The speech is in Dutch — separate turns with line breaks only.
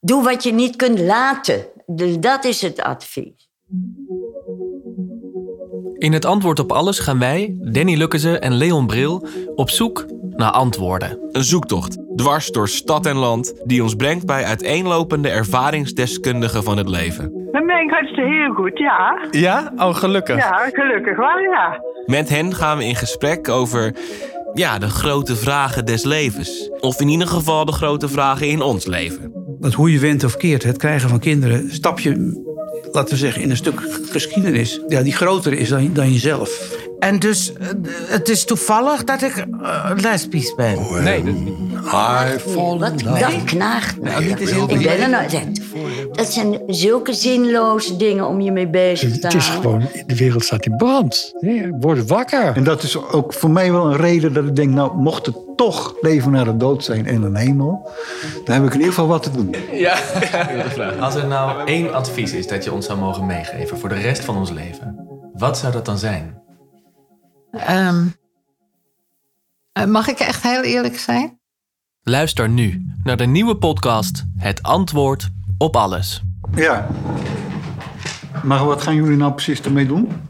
Doe wat je niet kunt laten. Dus dat is het advies.
In het antwoord op alles gaan wij, Danny Lukkeze en Leon Bril, op zoek naar antwoorden.
Een zoektocht, dwars door stad en land, die ons brengt bij uiteenlopende ervaringsdeskundigen van het leven.
Dan ben ik hartstikke heel goed, ja.
Ja? Oh, gelukkig.
Ja, gelukkig wel, ja.
Met hen gaan we in gesprek over ja, de grote vragen des levens. Of in ieder geval de grote vragen in ons leven.
Want hoe je went of keert, het krijgen van kinderen, stap je, laten we zeggen, in een stuk geschiedenis. Ja, die groter is dan, dan jezelf.
En dus, eh, het is toevallig dat ik eh, lesbisch ben.
Nee, dat is niet.
I fall in
Wat?
love.
Dat knaagt me.
dit is heel
ik ben er nou, dat, dat zijn zulke zinloze dingen om je mee bezig te
Het is
houden.
gewoon, de wereld staat in brand. Nee, Word wakker.
En dat is ook voor mij wel een reden dat ik denk, nou, mocht het toch leven naar de dood zijn en een hemel, dan heb ik in ieder geval wat te doen.
Als er nou één advies is dat je ons zou mogen meegeven voor de rest van ons leven, wat zou dat dan zijn?
Ehm, eh, mag ik echt heel eerlijk zijn?
Luister nu naar de nieuwe podcast Het Antwoord op Alles.
Ja. Maar wat gaan jullie nou precies ermee doen?